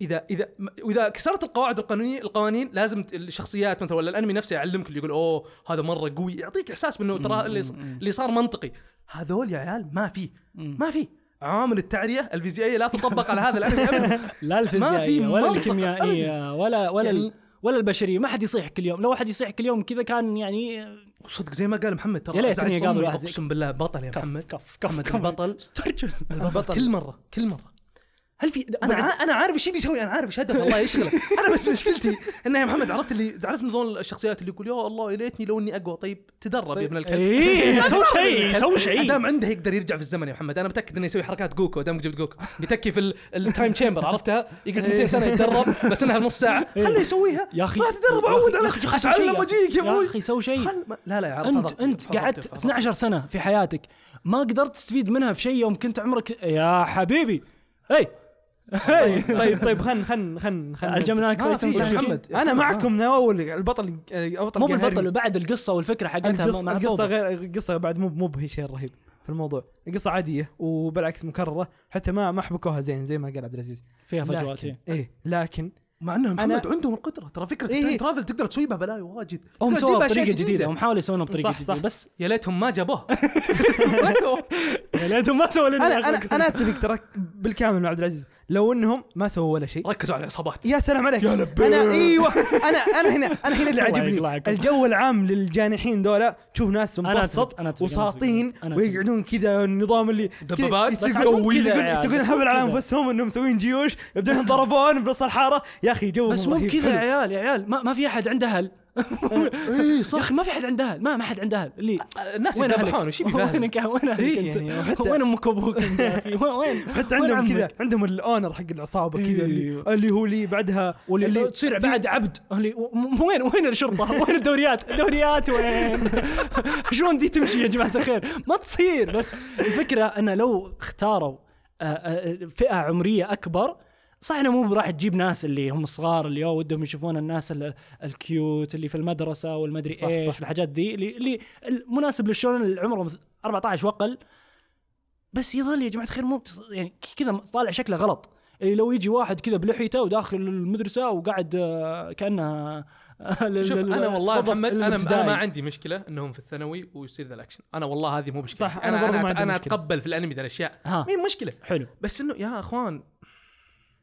[SPEAKER 5] اذا اذا واذا كسرت القواعد القانونيه القوانين لازم ت- الشخصيات مثلا ولا الانمي نفسه يعلمك اللي يقول اوه هذا مره قوي يعطيك احساس بانه ترى اللي, ص- اللي صار منطقي هذول يا عيال ما في ما في عوامل التعريه الفيزيائيه لا تطبق على هذا الانمي ابدا
[SPEAKER 3] لا الفيزيائيه ولا
[SPEAKER 5] منطق
[SPEAKER 3] الكيميائيه ولا ولا
[SPEAKER 5] يعني-
[SPEAKER 3] ال- ولا البشريه ما حد يصيح كل يوم لو واحد يصيح كل يوم كذا كان يعني
[SPEAKER 5] صدق زي ما قال محمد ترى
[SPEAKER 3] يا ليتني
[SPEAKER 5] أزعج
[SPEAKER 3] أقابل
[SPEAKER 5] أمي.
[SPEAKER 3] واحد زي
[SPEAKER 5] اقسم بالله بطل يا محمد
[SPEAKER 3] كف كف
[SPEAKER 5] محمد
[SPEAKER 3] كف.
[SPEAKER 5] البطل
[SPEAKER 3] استرجل
[SPEAKER 5] البطل كل مره كل مره هل في انا
[SPEAKER 3] نعم.
[SPEAKER 5] ع- انا عارف ايش يبي يسوي انا عارف ايش هدفه الله يشغله انا بس مشكلتي انه يا محمد عرفت اللي عرفت نظام الشخصيات اللي يقول يا الله يا ليتني لو اني اقوى طيب تدرب يا ابن الكلب
[SPEAKER 3] ايه سوي شيء سوي شيء
[SPEAKER 5] دام عنده يقدر يرجع في الزمن يا محمد انا متاكد انه يسوي حركات جوكو دامك جبت جوكو يتكي في ال- التايم تشامبر عرفتها يقعد 200 سنه يتدرب بس انها نص ساعه خله يسويها
[SPEAKER 3] إيه. يا اخي
[SPEAKER 5] راح تدرب
[SPEAKER 3] يا أخي-
[SPEAKER 5] عود
[SPEAKER 3] يا
[SPEAKER 5] على
[SPEAKER 3] أخي سوي شيء
[SPEAKER 5] اتعلم
[SPEAKER 3] يا أخي.
[SPEAKER 5] واجيك يا
[SPEAKER 3] يا
[SPEAKER 5] ابوي
[SPEAKER 3] اعطي سوي شيء
[SPEAKER 5] خل... ما- لا لا يا عرفت،
[SPEAKER 3] انت
[SPEAKER 5] فضحت-
[SPEAKER 3] انت
[SPEAKER 5] فضحت-
[SPEAKER 3] قعدت
[SPEAKER 5] فضحت.
[SPEAKER 3] 12 سنه في حياتك ما قدرت تستفيد منها في شيء يوم كنت عمرك يا حبيبي إيه، اي اي
[SPEAKER 4] طيب طيب خن خن خن خن
[SPEAKER 3] الجمناك
[SPEAKER 5] ما
[SPEAKER 3] رئيس
[SPEAKER 5] في
[SPEAKER 3] المستحقين.
[SPEAKER 5] محمد.
[SPEAKER 4] انا معكم من اول البطل البطل
[SPEAKER 3] مو
[SPEAKER 4] قاهرني.
[SPEAKER 3] بالبطل بعد القصه والفكره حقتها ما-
[SPEAKER 4] القصه
[SPEAKER 3] ما
[SPEAKER 4] القصه
[SPEAKER 3] عطوها.
[SPEAKER 4] غير القصه بعد مو مو بهي شيء رهيب في الموضوع القصه عاديه وبالعكس مكرره حتى ما ما حبكوها زين زي ما قال عبد العزيز
[SPEAKER 3] فيها فجوات
[SPEAKER 4] لكن
[SPEAKER 3] إيه.
[SPEAKER 4] ايه لكن
[SPEAKER 5] مع انه محمد
[SPEAKER 4] أنا-
[SPEAKER 5] عندهم القدره ترى فكره
[SPEAKER 4] إيه.
[SPEAKER 5] التايم ترافل تقدر تسويها بلاي واجد
[SPEAKER 3] هم
[SPEAKER 5] تقدر
[SPEAKER 3] سووها
[SPEAKER 5] تجيبها
[SPEAKER 3] بطريقه
[SPEAKER 5] أشياء
[SPEAKER 3] جديده هم حاولوا يسوونها بطريقه
[SPEAKER 4] صح، صح.
[SPEAKER 3] جديده بس
[SPEAKER 5] يا ليتهم ما جابوه ما سووه.
[SPEAKER 3] يا ليتهم يعني ما سووا
[SPEAKER 4] انا انا انا اتفق ترى بالكامل مع عبد العزيز لو انهم ما سووا ولا شيء
[SPEAKER 5] ركزوا على العصابات
[SPEAKER 4] يا سلام عليك
[SPEAKER 5] يا لبيك.
[SPEAKER 4] انا ايوه انا انا هنا انا هنا اللي
[SPEAKER 3] الله
[SPEAKER 4] عجبني
[SPEAKER 3] يقلعكم.
[SPEAKER 4] الجو العام للجانحين ذولا تشوف ناس
[SPEAKER 3] أتفق،
[SPEAKER 4] مبسط
[SPEAKER 3] أنا أتفق، أنا أتفق،
[SPEAKER 4] وساطين
[SPEAKER 3] أنا أتفق.
[SPEAKER 4] ويقعدون كذا النظام اللي كذا
[SPEAKER 5] دبابات، بس
[SPEAKER 4] يسوقون-
[SPEAKER 5] عمو كذا
[SPEAKER 4] يسوقون-
[SPEAKER 3] يا عيال،
[SPEAKER 4] يسوقون
[SPEAKER 3] بس
[SPEAKER 4] الهبل على
[SPEAKER 3] يعني. كذا.
[SPEAKER 4] انفسهم انهم مسويين جيوش يبدون ينضربون بنص الحاره يا اخي جو
[SPEAKER 3] بس مو كذا يعني. يا عيال يا عيال ما, ما في احد عنده اهل
[SPEAKER 4] إيه،
[SPEAKER 3] اي صح يا اخي ما في احد عنده اهل ما ما حد عنده اهل اللي
[SPEAKER 5] الناس
[SPEAKER 3] وين
[SPEAKER 5] يذبحون
[SPEAKER 3] اهلك؟
[SPEAKER 5] وش يبي فاهم؟
[SPEAKER 3] وينك وين اهلك
[SPEAKER 4] إيه
[SPEAKER 3] انت؟
[SPEAKER 4] يعني، وحتى-
[SPEAKER 3] وين امك وابوك انت يا اخي؟ وين وين
[SPEAKER 4] حتى
[SPEAKER 3] وين
[SPEAKER 4] عندهم
[SPEAKER 3] عمك؟
[SPEAKER 4] كذا عندهم الاونر حق العصابه كذا اللي,
[SPEAKER 3] إيوه.
[SPEAKER 4] اللي هو لي بعدها
[SPEAKER 3] واللي
[SPEAKER 4] اللي-
[SPEAKER 3] اللي تصير بعد عبد اللي و- م- وين وين الشرطه؟ وين الدوريات؟ الدوريات وين؟ شلون دي تمشي يا جماعه الخير؟ ما تصير بس الفكره انه لو اختاروا آه، آه، فئه عمريه اكبر صح انه مو راح تجيب ناس اللي هم صغار اللي هو ودهم يشوفون الناس ال- الكيوت اللي في المدرسه والمدري
[SPEAKER 4] صح،
[SPEAKER 3] ايش
[SPEAKER 4] صح.
[SPEAKER 3] الحاجات ذي اللي اللي المناسب للشونن اللي عمره مث- 14 واقل بس يظل يا جماعه الخير مو بتص- يعني ك- كذا طالع شكله غلط يعني لو يجي واحد كذا بلحيته وداخل المدرسه وقاعد آه، كانه
[SPEAKER 5] شوف انا والله يا محمد انا انا ما عندي مشكله انهم في الثانوي ويصير ذا الاكشن انا والله هذه مو مشكله
[SPEAKER 4] صح، أنا برضو ما عندي
[SPEAKER 5] انا
[SPEAKER 4] مشكلة. آه.
[SPEAKER 5] اتقبل في الانمي ذا الاشياء
[SPEAKER 3] ها
[SPEAKER 5] مين مشكله
[SPEAKER 3] حلو
[SPEAKER 5] بس انه يا اخوان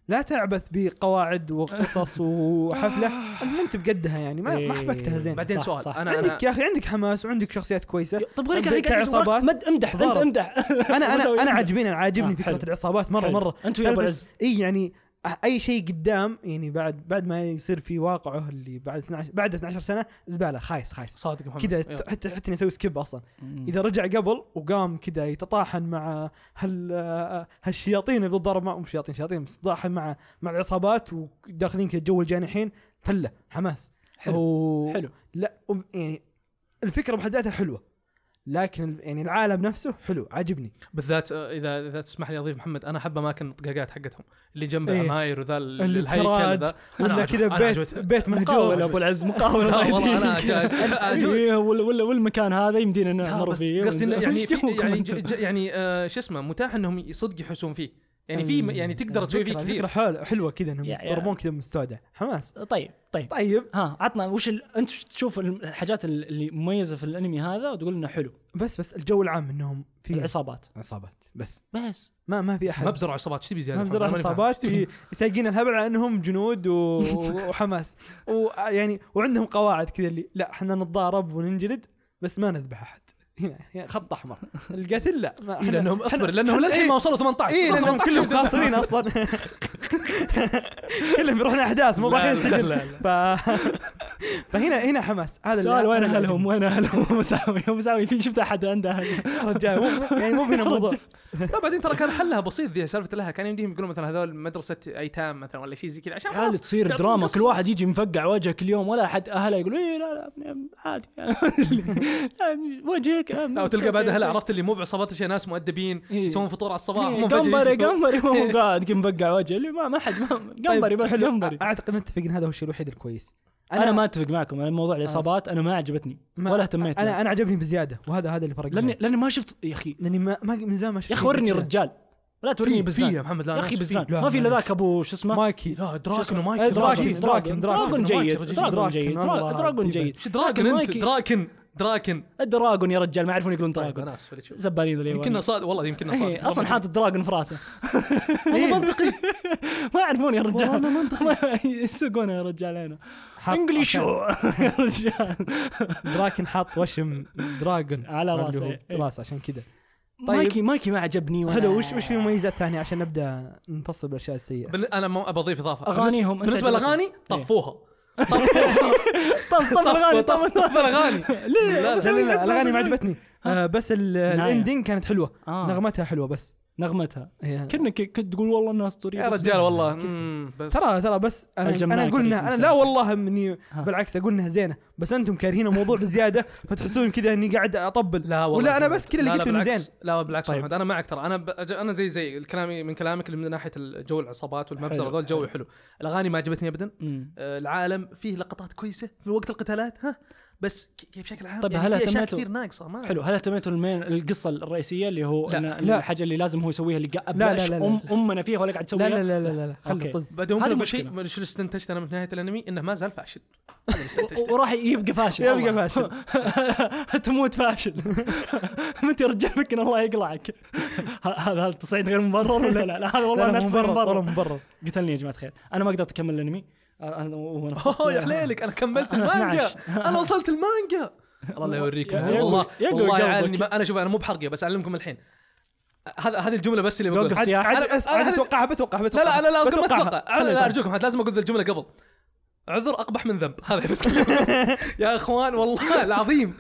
[SPEAKER 4] لا تعبث بقواعد وقصص وحفله ما انت بقدها يعني ما ما
[SPEAKER 3] إيه.
[SPEAKER 4] حبكتها زين
[SPEAKER 5] بعدين
[SPEAKER 3] صح،
[SPEAKER 5] سؤال
[SPEAKER 3] صح.
[SPEAKER 5] انا
[SPEAKER 4] عندك
[SPEAKER 5] أنا-
[SPEAKER 4] يا اخي عندك حماس وعندك شخصيات كويسه
[SPEAKER 3] طب غيرك
[SPEAKER 4] عندك عصابات
[SPEAKER 3] مد امدح انت
[SPEAKER 4] تضارب.
[SPEAKER 3] امدح
[SPEAKER 4] انا انا انا عاجبين انا
[SPEAKER 3] آه،
[SPEAKER 4] عاجبني
[SPEAKER 3] حلو.
[SPEAKER 4] فكره العصابات مره
[SPEAKER 3] حلو.
[SPEAKER 4] مره
[SPEAKER 3] أنت ويا أبو
[SPEAKER 4] سالفة-
[SPEAKER 3] عز.
[SPEAKER 4] اي يعني اي شيء قدام يعني بعد بعد ما يصير في واقعه اللي بعد 12 بعد 12 سنه زباله خايس خايس
[SPEAKER 5] صادق محمد
[SPEAKER 4] كذا
[SPEAKER 5] يلا.
[SPEAKER 4] ت- حتى حتى إني اسوي سكيب اصلا اذا رجع قبل وقام كذا يتطاحن مع هال آه، هالشياطين اللي بتضارب معهم مش شياطين شياطين بس تطاحن مع مع العصابات وداخلين كذا جو الجانحين فله حماس
[SPEAKER 3] حلو.
[SPEAKER 4] و...
[SPEAKER 3] حلو
[SPEAKER 4] لا وب- يعني الفكره بحد ذاتها حلوه لكن ال- يعني العالم نفسه حلو عاجبني
[SPEAKER 5] بالذات آه، اذا اذا تسمح لي اضيف محمد انا احب اماكن الطقاقات حقتهم اللي جنب
[SPEAKER 4] إيه.
[SPEAKER 5] العماير وذا ال-
[SPEAKER 4] الكراج
[SPEAKER 5] الهيكل ذا أنا
[SPEAKER 4] ولا
[SPEAKER 5] عجب-
[SPEAKER 4] كذا
[SPEAKER 5] أنا
[SPEAKER 4] بيت
[SPEAKER 5] عجبت-
[SPEAKER 4] بيت
[SPEAKER 3] مقاولة
[SPEAKER 4] مهجور
[SPEAKER 3] ابو العز مقاولة
[SPEAKER 5] لا والله
[SPEAKER 3] بعدين.
[SPEAKER 5] انا عجبت
[SPEAKER 3] إيه، وال- وال- والمكان هذا يمدينا نعمر
[SPEAKER 5] بس
[SPEAKER 3] فيه
[SPEAKER 5] قصدي إنه
[SPEAKER 3] ونز-
[SPEAKER 5] يعني
[SPEAKER 3] وش
[SPEAKER 5] في
[SPEAKER 3] جوكم
[SPEAKER 5] يعني
[SPEAKER 3] أنتم؟
[SPEAKER 5] ج- ج- يعني آه، شو اسمه متاح انهم صدق يحسون فيه يعني في م- يعني تقدر تسوي فيه
[SPEAKER 4] فكرة-
[SPEAKER 5] كثير
[SPEAKER 4] فكره حلوه حلوه كذا انهم
[SPEAKER 3] يا- يا.
[SPEAKER 4] يضربون كذا من السوداء حماس
[SPEAKER 3] طيب طيب
[SPEAKER 4] طيب
[SPEAKER 3] ها عطنا وش ال... انت وش تشوف الحاجات اللي مميزه في الانمي هذا وتقول انه حلو
[SPEAKER 4] بس بس الجو العام انهم
[SPEAKER 5] إيه.
[SPEAKER 4] في
[SPEAKER 3] العصابات
[SPEAKER 4] عصابات بس
[SPEAKER 3] بس
[SPEAKER 4] ما ما في احد
[SPEAKER 5] مبزرة عصابات ايش تبي زياده؟
[SPEAKER 4] مبزرة
[SPEAKER 5] محمد؟ أنا ماني فاهم.
[SPEAKER 4] عصابات ي- يسايقين الهبل على انهم جنود و... وحماس ويعني وعندهم قواعد كذا اللي لا احنا نتضارب وننجلد بس ما نذبح احد هنا هنا خط احمر القتل لا ما
[SPEAKER 5] إيه،
[SPEAKER 4] إحنا-
[SPEAKER 5] لانهم اصبر لانهم
[SPEAKER 4] إحنا-
[SPEAKER 5] للحين ما وصلوا 18
[SPEAKER 4] اي
[SPEAKER 5] صح،
[SPEAKER 4] لانهم
[SPEAKER 5] 18
[SPEAKER 4] كلهم قاصرين اصلا كلهم بيروحون احداث مو
[SPEAKER 5] لا،
[SPEAKER 4] رايحين
[SPEAKER 5] لا،
[SPEAKER 4] السجن
[SPEAKER 5] لا،
[SPEAKER 4] ف... فهنا هنا حماس هذا
[SPEAKER 3] سؤال وين
[SPEAKER 4] هذا اللي
[SPEAKER 3] اهلهم وين اهلهم مساوي مساوي في شفت احد عنده اهل
[SPEAKER 4] عجبني. رجال مو- يعني مو هنا الموضوع
[SPEAKER 5] لا بعدين ترى كان حلها بسيط ذي سالفه لها كان يمديهم يقولون مثلا هذول مدرسه ايتام مثلا ولا شيء زي كذا عشان
[SPEAKER 3] عادي
[SPEAKER 5] خلاص
[SPEAKER 3] تصير
[SPEAKER 5] يعطون
[SPEAKER 3] دراما
[SPEAKER 5] قصة.
[SPEAKER 3] كل واحد يجي مفقع وجهه كل يوم ولا احد اهله يقول ايه لا لا ابني عادي وجهك
[SPEAKER 5] لا وتلقى بعد اهلها عرفت اللي مو بعصابات شيء ناس مؤدبين
[SPEAKER 3] إيه.
[SPEAKER 5] يسوون فطور على الصباح هم فجأة
[SPEAKER 3] قنبري
[SPEAKER 5] يجوا.
[SPEAKER 3] قنبري وهو قاعد مفقع وجهه اللي ما ما حد ما- قنبري
[SPEAKER 4] طيب،
[SPEAKER 3] بس
[SPEAKER 4] حلو.
[SPEAKER 3] قنبري
[SPEAKER 4] أ- اعتقد نتفق ان هذا هو الشيء الوحيد الكويس
[SPEAKER 3] انا ما اتفق معكم انا موضوع الاصابات انا ما عجبتني
[SPEAKER 4] ما-
[SPEAKER 3] ولا اهتميت لها.
[SPEAKER 4] انا انا عجبني بزياده وهذا هذا اللي فرق
[SPEAKER 3] لاني
[SPEAKER 4] معي.
[SPEAKER 3] لاني ما شفت يا اخي
[SPEAKER 4] لاني ما, ما من زمان ما شفت
[SPEAKER 3] يا اخي
[SPEAKER 4] شيء
[SPEAKER 3] ورني
[SPEAKER 4] زي كذا.
[SPEAKER 3] الرجال ولا توريني
[SPEAKER 5] في-
[SPEAKER 3] بزنان
[SPEAKER 5] في يا محمد، لا،
[SPEAKER 3] يا
[SPEAKER 5] ناس
[SPEAKER 3] اخي
[SPEAKER 5] في.
[SPEAKER 3] بزنان
[SPEAKER 4] لا،
[SPEAKER 3] ما في الا
[SPEAKER 4] لا،
[SPEAKER 3] ذاك ابو شو اسمه
[SPEAKER 4] مايكي
[SPEAKER 5] لا دراكن
[SPEAKER 4] إيه،
[SPEAKER 5] ومايك
[SPEAKER 4] دراكن.
[SPEAKER 3] دراجون دراجون
[SPEAKER 4] دراجون، دراجون
[SPEAKER 3] جيد
[SPEAKER 5] رجل.
[SPEAKER 3] دراجون
[SPEAKER 4] دراجون
[SPEAKER 3] جيد
[SPEAKER 4] والله
[SPEAKER 3] دراجون
[SPEAKER 4] رهيب.
[SPEAKER 3] جيد
[SPEAKER 5] ايش دراكن انت
[SPEAKER 3] مايكي.
[SPEAKER 5] دراكن دراكن
[SPEAKER 3] الدراجون يا رجال ما يعرفون يقولون
[SPEAKER 5] طيب
[SPEAKER 3] دراجون
[SPEAKER 5] ناس في اللي تشوف
[SPEAKER 3] زبالين ذولي
[SPEAKER 5] يمكننا صادق والله يمكننا صادق
[SPEAKER 3] إيه، اصلا حاطط دراجون في راسه
[SPEAKER 4] إيه،
[SPEAKER 3] ما يعرفون يا رجال ما يسوقونه يا رجال هنا
[SPEAKER 4] حط-
[SPEAKER 3] انجلش يا رجال
[SPEAKER 4] دراكن حاط وشم دراجون
[SPEAKER 3] على راسه،
[SPEAKER 4] اللي هو
[SPEAKER 3] إيه.
[SPEAKER 4] راسه عشان كذا
[SPEAKER 3] مايكي مايكي ما عجبني ولا
[SPEAKER 4] حلو طيب. وش وش في مميزات ثانيه عشان نبدا نفصل بالاشياء السيئه
[SPEAKER 5] بال- انا ما ابى اضيف اضافه
[SPEAKER 3] أغانيهم أنت
[SPEAKER 5] بالنسبه
[SPEAKER 3] عجبتك.
[SPEAKER 5] للاغاني
[SPEAKER 3] إيه.
[SPEAKER 5] طفوها
[SPEAKER 3] طب طب الاغاني طب
[SPEAKER 5] طف طف الاغاني
[SPEAKER 3] ليه
[SPEAKER 4] لا لا لا الاغاني ما عجبتني آه بس ال- الاندنج كانت حلوه
[SPEAKER 3] آه.
[SPEAKER 4] نغمتها حلوه بس
[SPEAKER 3] نغمتها
[SPEAKER 4] هي-
[SPEAKER 3] كأنك كنت تقول والله انها اسطوريه
[SPEAKER 5] يا
[SPEAKER 3] بس
[SPEAKER 5] رجال والله مم، بس
[SPEAKER 4] ترى ترى بس انا
[SPEAKER 3] الجماعة
[SPEAKER 4] انا اقول انها
[SPEAKER 3] كريم
[SPEAKER 4] انا
[SPEAKER 3] سعد.
[SPEAKER 4] لا والله اني
[SPEAKER 3] ها.
[SPEAKER 4] بالعكس اقول انها زينه بس انتم كارهين الموضوع بزياده فتحسون كذا اني قاعد اطبل
[SPEAKER 5] لا والله
[SPEAKER 4] ولا أنا
[SPEAKER 5] بالعكس.
[SPEAKER 4] بس كذا اللي
[SPEAKER 5] لا، لا،
[SPEAKER 4] قلته إنه
[SPEAKER 5] بالعكس. لا بالعكس
[SPEAKER 3] طيب.
[SPEAKER 5] محمد انا معك ترى انا ب... أج- انا زي زي الكلام من كلامك اللي من ناحيه الجو العصابات والمبزره
[SPEAKER 3] حلو،
[SPEAKER 5] هذول جو حلو الاغاني ما عجبتني ابدا
[SPEAKER 3] مم.
[SPEAKER 5] آه، العالم فيه لقطات كويسه في وقت القتالات ها بس ك- ك- بشكل عام
[SPEAKER 3] طيب،
[SPEAKER 5] يعني
[SPEAKER 3] هل
[SPEAKER 5] في اشياء
[SPEAKER 3] اهتميتوا-
[SPEAKER 5] كثير ناقصه ما
[SPEAKER 3] حلو هل اهتميتوا المين القصه الرئيسيه اللي هو
[SPEAKER 5] لا.
[SPEAKER 3] أن
[SPEAKER 4] لا.
[SPEAKER 3] الحاجه اللي لازم هو يسويها اللي قاعد
[SPEAKER 4] لا، لا، لا، لا.
[SPEAKER 3] أم امنا فيها ولا قاعد
[SPEAKER 4] لا
[SPEAKER 3] تسويها
[SPEAKER 4] لا لا لا لا, لا.
[SPEAKER 3] أوكي.
[SPEAKER 4] خلي طز
[SPEAKER 5] بعدين ممكن
[SPEAKER 3] هذه
[SPEAKER 5] اقول
[SPEAKER 3] مشكلة.
[SPEAKER 5] شيء شو اللي استنتجت انا من نهايه الانمي انه ما زال فاشل
[SPEAKER 3] و- وراح يبقى فاشل
[SPEAKER 4] يبقى فاشل
[SPEAKER 3] تموت فاشل متى يا رجال ممكن الله يقلعك ه- هذا هل تصعيد غير مبرر ولا لا, لا هذا والله
[SPEAKER 4] لا، لا،
[SPEAKER 3] انها تصير
[SPEAKER 4] مبرر والله
[SPEAKER 3] مبرر
[SPEAKER 4] مبرر
[SPEAKER 3] قتلني يا جماعه الخير انا ما قدرت اكمل الانمي انا وانا
[SPEAKER 5] اوه آه، يا حليلك انا كملت
[SPEAKER 3] أنا
[SPEAKER 5] المانجا
[SPEAKER 3] 12.
[SPEAKER 5] انا وصلت المانجا آه، الله لا يوريكم
[SPEAKER 3] يا- يا-
[SPEAKER 5] والله
[SPEAKER 3] يا- يا-
[SPEAKER 5] والله
[SPEAKER 3] يا-
[SPEAKER 5] عالني ما- انا شوف انا مو بحرقه بس اعلمكم الحين هذا هذه الجمله بس اللي بقولها
[SPEAKER 3] وقف سياح
[SPEAKER 4] عاد
[SPEAKER 5] أنا-
[SPEAKER 4] أس-
[SPEAKER 5] أنا
[SPEAKER 4] عاد
[SPEAKER 5] هذه-
[SPEAKER 4] اتوقعها بتوقعها
[SPEAKER 5] لا
[SPEAKER 4] بتوقعها
[SPEAKER 5] لا انا لا ما
[SPEAKER 4] بتوقعها.
[SPEAKER 5] اتوقع أنا-
[SPEAKER 4] خلي
[SPEAKER 5] لا
[SPEAKER 4] طز.
[SPEAKER 5] ارجوكم هذا لازم اقول ذا الجمله قبل عذر اقبح من ذنب هذا بس يا اخوان والله العظيم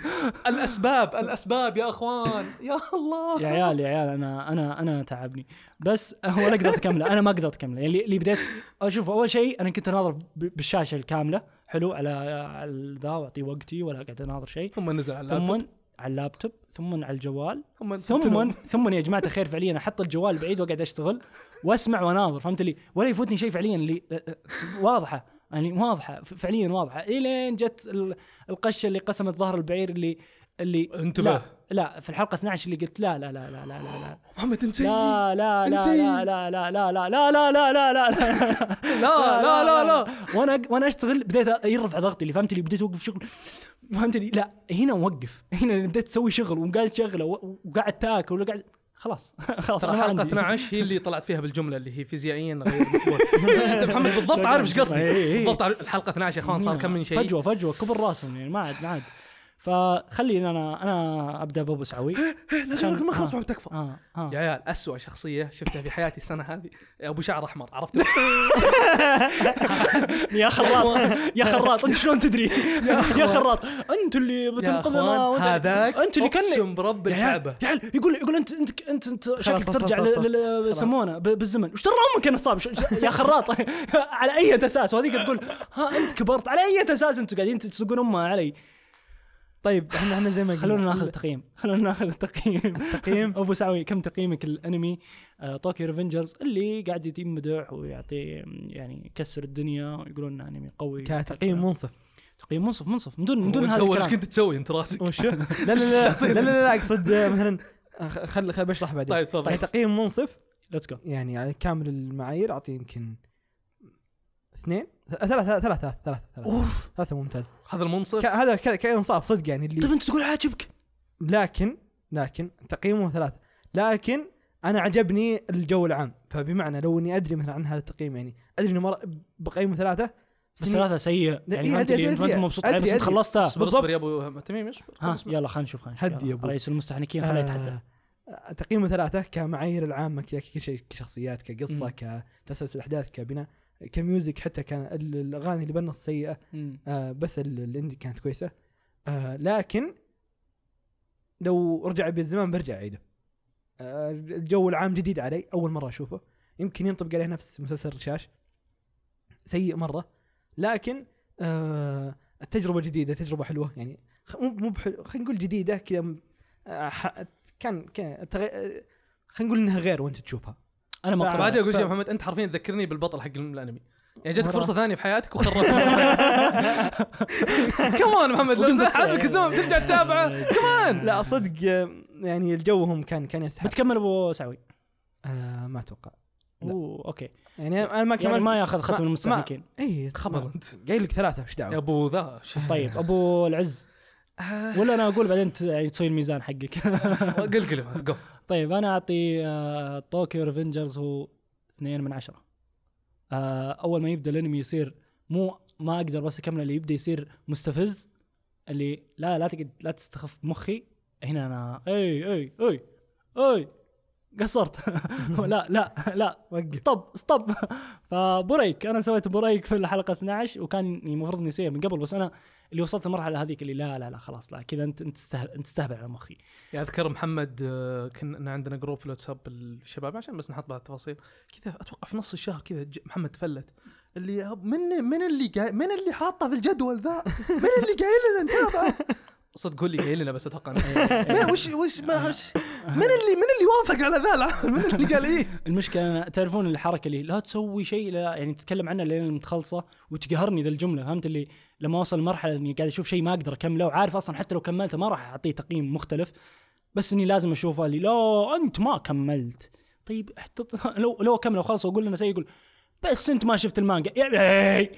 [SPEAKER 5] الاسباب الاسباب يا اخوان يا الله
[SPEAKER 3] يا عيال يا عيال انا انا انا تعبني بس ولا قدرت اكمله انا ما قدرت اكمله يعني اللي بديت اشوف اول شيء انا كنت اناظر ب- بالشاشه الكامله حلو على على ذا واعطي وقتي ولا قاعد اناظر شيء
[SPEAKER 5] ثم نزل على
[SPEAKER 3] ثم
[SPEAKER 5] اللابتوب
[SPEAKER 3] على اللابتوب ثم على الجوال
[SPEAKER 5] ثم
[SPEAKER 3] ثم ثم يا جماعه الخير فعليا احط الجوال بعيد واقعد اشتغل واسمع واناظر فهمت لي ولا يفوتني شيء فعليا اللي واضحه يعني واضحه ف- فعليا واضحه الين جت ال- القشه اللي قسمت ظهر البعير اللي اللي
[SPEAKER 5] انتبه.
[SPEAKER 3] لا, لا في الحلقه 12 اللي قلت لا لا لا لا لا لا
[SPEAKER 5] محمد انت
[SPEAKER 3] لا لا لا لا لا لا لا لا لا لا لا لا لا
[SPEAKER 5] لا لا لا لا
[SPEAKER 3] وانا وانا اشتغل بديت يرفع ضغطي اللي فهمت لي بديت اوقف شغل فهمت لي لا هنا موقف هنا بديت اسوي شغل وقاعد شغله و- وقاعد تاكل وقاعد خلاص خلاص
[SPEAKER 5] ترى
[SPEAKER 3] أنا ما
[SPEAKER 5] حلقه
[SPEAKER 3] عندي.
[SPEAKER 5] 12 هي اللي طلعت فيها بالجمله اللي هي فيزيائيا غير مقبول انت محمد بالضبط عارف ايش قصدي
[SPEAKER 3] إيه، إيه.
[SPEAKER 5] بالضبط عارف الحلقه 12 يا اخوان صار كم من شيء
[SPEAKER 3] فجوه فجوه كبر راسهم يعني ما عاد ما عاد فخلي انا انا ابدا بابو سعوي
[SPEAKER 5] لا خليك ما خلص تكفى
[SPEAKER 3] اه اه
[SPEAKER 5] يا عيال اسوء شخصيه شفتها في حياتي السنه هذه ابو شعر احمر عرفته
[SPEAKER 3] يا خراط يا خراط انت شلون تدري يا خراط انت اللي
[SPEAKER 5] يا
[SPEAKER 3] بتنقذنا
[SPEAKER 5] اخوان
[SPEAKER 3] وأنت-
[SPEAKER 5] هذاك
[SPEAKER 3] انت اللي كان
[SPEAKER 5] اقسم برب
[SPEAKER 3] يا عيال
[SPEAKER 5] الكعبه
[SPEAKER 3] يا عيال يقول يقول انت انت انت, انت شكلك
[SPEAKER 4] خلاص،
[SPEAKER 3] ترجع
[SPEAKER 4] خلاص،
[SPEAKER 3] لل-
[SPEAKER 4] خلاص،
[SPEAKER 3] لل- يسمونه ب- بالزمن وش ترى امك انا صعب شو- شو- يا خراط على اي اساس وهذيك تقول ها انت كبرت على اي اساس انتم قاعدين تسوقون امها علي
[SPEAKER 4] طيب احنا احنا زي ما قلنا
[SPEAKER 3] خلونا ناخذ التقييم خلونا ناخذ التقييم
[SPEAKER 4] التقييم.
[SPEAKER 3] ابو سعوي كم تقييمك الانمي طوكيو ريفنجرز اللي قاعد يمدح ويعطي يعني يكسر الدنيا ويقولون انمي قوي
[SPEAKER 4] كتقييم منصف
[SPEAKER 3] تقييم منصف منصف من دون من دون
[SPEAKER 5] وأنت
[SPEAKER 3] هذا
[SPEAKER 5] اول ايش
[SPEAKER 3] الكلام
[SPEAKER 5] كنت تسوي انت راسك
[SPEAKER 4] وش لا لا لا لا لا, لا اقصد آه، مثلا خ- خل خل بشرح بعدين
[SPEAKER 5] طيب، تفضل.
[SPEAKER 4] تقييم منصف
[SPEAKER 3] ليتس جو
[SPEAKER 4] يعني على كامل المعايير اعطيه يمكن اثنين ثلاثة ثلاثة ثلاثة ثلاثة
[SPEAKER 3] اوف
[SPEAKER 4] ثلاثة ممتاز
[SPEAKER 5] هذا
[SPEAKER 4] ك-
[SPEAKER 5] المنصف
[SPEAKER 4] هذا ك- كإنصاف صدق يعني اللي
[SPEAKER 3] طيب انت تقول عاجبك
[SPEAKER 4] لكن لكن تقييمه ثلاثة لكن انا عجبني الجو العام فبمعنى لو اني ادري مثلا عن هذا التقييم يعني ادري انه مر- بقيمه ثلاثة
[SPEAKER 3] بس
[SPEAKER 4] إني-
[SPEAKER 3] ثلاثة سيء
[SPEAKER 4] لا،
[SPEAKER 3] يعني
[SPEAKER 4] إيه،
[SPEAKER 3] ما انت
[SPEAKER 4] أدري،
[SPEAKER 3] ما انت
[SPEAKER 4] أدري،
[SPEAKER 3] مبسوط عليه بس
[SPEAKER 4] أدري،
[SPEAKER 3] انت
[SPEAKER 4] أدري.
[SPEAKER 3] خلصتها
[SPEAKER 5] اصبر
[SPEAKER 4] بالضبط.
[SPEAKER 5] اصبر يا ابو تميم اصبر
[SPEAKER 3] ها
[SPEAKER 5] اصبر.
[SPEAKER 3] يلا خلينا نشوف خلينا
[SPEAKER 4] هدي
[SPEAKER 3] نشوف
[SPEAKER 4] يا آه.
[SPEAKER 3] يلا.
[SPEAKER 4] أبو.
[SPEAKER 3] رئيس المستحنكين خليه يتحدى
[SPEAKER 4] آه، تقييمه ثلاثة كمعايير العامة ك- ككل شيء كشخصيات كقصة كتسلسل أحداث كبناء كميوزك حتى كان ال- الأغاني اللي بالنص سيئة
[SPEAKER 3] مم.
[SPEAKER 4] آه بس ال- الاندي كانت كويسة آه لكن لو رجع بي الزمان برجع أعيده آه الجو العام جديد علي أول مرة أشوفه يمكن ينطبق عليه نفس مسلسل رشاش سيء مرة لكن آه التجربة جديدة تجربة حلوة يعني خ- مو مو بحلو- خلينا نقول جديدة كذا م- آه، ح- كان كان تغي... آه، خلينا نقول انها غير وانت تشوفها
[SPEAKER 3] انا ما
[SPEAKER 5] بعد
[SPEAKER 3] اقتنعت
[SPEAKER 5] اقول شيء
[SPEAKER 4] طيب.
[SPEAKER 5] يا محمد انت حرفيا تذكرني بالبطل حق الانمي يعني جاتك
[SPEAKER 4] مرة.
[SPEAKER 5] فرصه ثانيه في حياتك وخربتها كمان محمد لو
[SPEAKER 3] وقمت
[SPEAKER 5] عاد لك الزمن بترجع
[SPEAKER 4] آه.
[SPEAKER 5] تتابعه كمان
[SPEAKER 4] لا صدق آه، يعني الجوهم كان كان يسحب
[SPEAKER 3] بتكمل ابو سعوي
[SPEAKER 4] آه ما اتوقع لا.
[SPEAKER 3] اوه اوكي
[SPEAKER 4] يعني انا ما
[SPEAKER 3] يعني
[SPEAKER 4] كملت
[SPEAKER 3] ما ياخذ ختم
[SPEAKER 4] ما-
[SPEAKER 3] المستحنكين
[SPEAKER 4] اي
[SPEAKER 5] خبر
[SPEAKER 4] ما- إيه،
[SPEAKER 5] انت
[SPEAKER 4] قايل لك ثلاثه ايش
[SPEAKER 5] يا
[SPEAKER 4] دعوه
[SPEAKER 5] ابو ذا ش-
[SPEAKER 3] طيب ابو العز
[SPEAKER 4] آه.
[SPEAKER 3] ولا انا اقول بعدين ت- يعني تسوي الميزان حقك
[SPEAKER 5] قل قل يا محمد، go.
[SPEAKER 3] طيب انا اعطي آه، طوكيو ريفنجرز هو اثنين من عشرة آه، اول ما يبدا الانمي يصير مو ما اقدر بس اكمله اللي يبدا يصير مستفز اللي لا لا تقعد لا تستخف مخي هنا انا اي اي اي اي قصرت لا لا لا
[SPEAKER 4] وقف
[SPEAKER 3] ستوب ستوب فبريك انا سويت بريك في الحلقه 12 وكان المفروض اني اسويه من قبل بس انا اللي وصلت المرحله هذيك اللي لا لا لا خلاص لا كذا انت انت تستهبل انت تستهبل على مخي
[SPEAKER 5] يا اذكر محمد آه، كنا عندنا جروب في الواتساب الشباب عشان بس نحط بعض التفاصيل كذا اتوقع في نص الشهر كذا ج- محمد تفلت اللي يا هب- من من اللي قا... من اللي حاطه في الجدول ذا؟ من اللي قايل لنا نتابعه؟ صدق هو اللي قايل لنا بس اتوقع إنه- ما- وش وش ما وش من اللي من اللي وافق على ذا العمل؟ من اللي قال ايه؟
[SPEAKER 3] المشكله انا تعرفون الحركه اللي لا تسوي شيء لا يعني تتكلم عنه لين متخلصه وتقهرني ذا الجمله فهمت اللي لما اوصل لمرحله اني قاعد اشوف شيء ما اقدر اكمله وعارف اصلا حتى لو كملته ما راح اعطيه تقييم مختلف بس اني لازم اشوفه اللي لا انت ما كملت طيب احتط... لو لو اكمله وخلص واقول لنا شيء يقول بس انت ما شفت المانجا يا بي.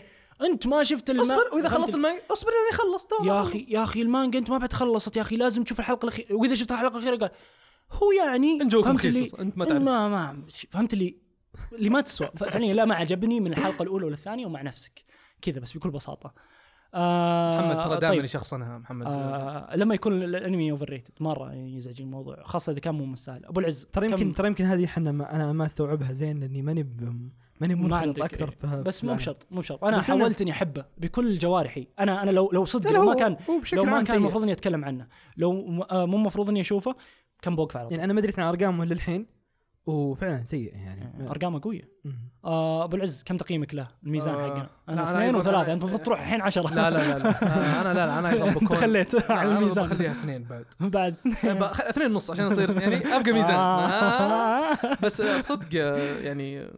[SPEAKER 3] انت ما شفت المانجا
[SPEAKER 5] اصبر واذا خلص المانجا اصبر لين يخلص تو
[SPEAKER 3] يا
[SPEAKER 5] خلص.
[SPEAKER 3] اخي يا اخي المانجا انت ما بعد خلصت يا اخي لازم تشوف الحلقه الاخيره واذا شفت الحلقه الاخيره قال هو يعني
[SPEAKER 5] إن جوكم
[SPEAKER 3] فهمت اللي-
[SPEAKER 5] خيسس، أنت ما تعرف.
[SPEAKER 3] ما, ما فهمت اللي اللي ما تسوى ف- فعليا لا ما عجبني من الحلقه الاولى ولا الثانيه ومع نفسك كذا بس بكل بساطه آه
[SPEAKER 5] محمد ترى
[SPEAKER 3] طيب.
[SPEAKER 5] دائما يشخصنها محمد
[SPEAKER 3] آه لما يكون ال- الانمي اوفر ريتد مره يزعج الموضوع خاصه اذا كان مو مستاهل ابو العز
[SPEAKER 4] ترى
[SPEAKER 3] كم-
[SPEAKER 4] يمكن ترى يمكن هذه احنا ما انا ما استوعبها زين لاني ماني ب- ماني
[SPEAKER 3] ما عندك إيه.
[SPEAKER 4] منخرط اكثر في
[SPEAKER 3] بس
[SPEAKER 4] في
[SPEAKER 3] مو
[SPEAKER 4] العالم.
[SPEAKER 3] بشرط مو بشرط انا
[SPEAKER 4] بس أنا-
[SPEAKER 3] حاولت اني احبه بكل جوارحي انا انا لو لو صدق
[SPEAKER 4] لا، لا،
[SPEAKER 3] لو ما
[SPEAKER 4] هو-
[SPEAKER 3] كان
[SPEAKER 4] هو بشكل
[SPEAKER 3] لو ما
[SPEAKER 4] عام
[SPEAKER 3] كان
[SPEAKER 4] سيء.
[SPEAKER 3] المفروض اني اتكلم عنه لو م- آه، مو المفروض اني اشوفه كان بوقف على طول
[SPEAKER 4] يعني انا ما دريت عن ارقامه للحين وفعلا سيء يعني
[SPEAKER 3] ارقامه قويه
[SPEAKER 4] مم.
[SPEAKER 3] آه، ابو العز كم تقييمك له الميزان
[SPEAKER 5] آه،
[SPEAKER 3] حقنا
[SPEAKER 5] لا، أنا
[SPEAKER 3] انا اثنين
[SPEAKER 5] أيضاً-
[SPEAKER 3] وثلاثه انت المفروض تروح الحين عشرة
[SPEAKER 5] لا لا لا لا انا لا لا انا ايضا
[SPEAKER 3] انت
[SPEAKER 5] بكون
[SPEAKER 3] خليت على الميزان
[SPEAKER 5] خليها اثنين بعد
[SPEAKER 3] بعد
[SPEAKER 5] طيب، خ- اثنين ونص عشان اصير يعني ابقى ميزان آه. بس آه، صدق آه، يعني آه،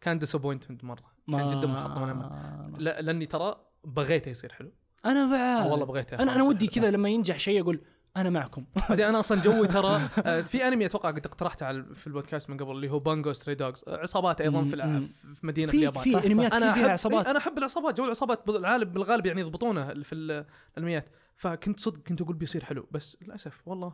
[SPEAKER 5] كان ديسابوينتمنت مره كان جدا محطم من أمل. لا لاني ترى بغيته يصير حلو
[SPEAKER 3] انا بعد
[SPEAKER 5] آه، والله بغيته
[SPEAKER 3] انا انا آه. ودي كذا لما ينجح شيء اقول انا معكم
[SPEAKER 5] بعدين انا اصلا جوي ترى آه، في انمي اتوقع قد اقترحته على في البودكاست من قبل اللي هو بانجو ستري دوجز آه، عصابات ايضا في الع-
[SPEAKER 3] مم.
[SPEAKER 5] في مدينه في
[SPEAKER 3] في
[SPEAKER 5] اليابان
[SPEAKER 3] في انميات كثير
[SPEAKER 5] انا
[SPEAKER 3] فيها
[SPEAKER 5] احب
[SPEAKER 3] عصابات
[SPEAKER 5] إيه، انا احب العصابات جو العصابات بالغالب بالغالب يعني يضبطونه في ال- الانميات فكنت صدق كنت اقول بيصير حلو بس للاسف والله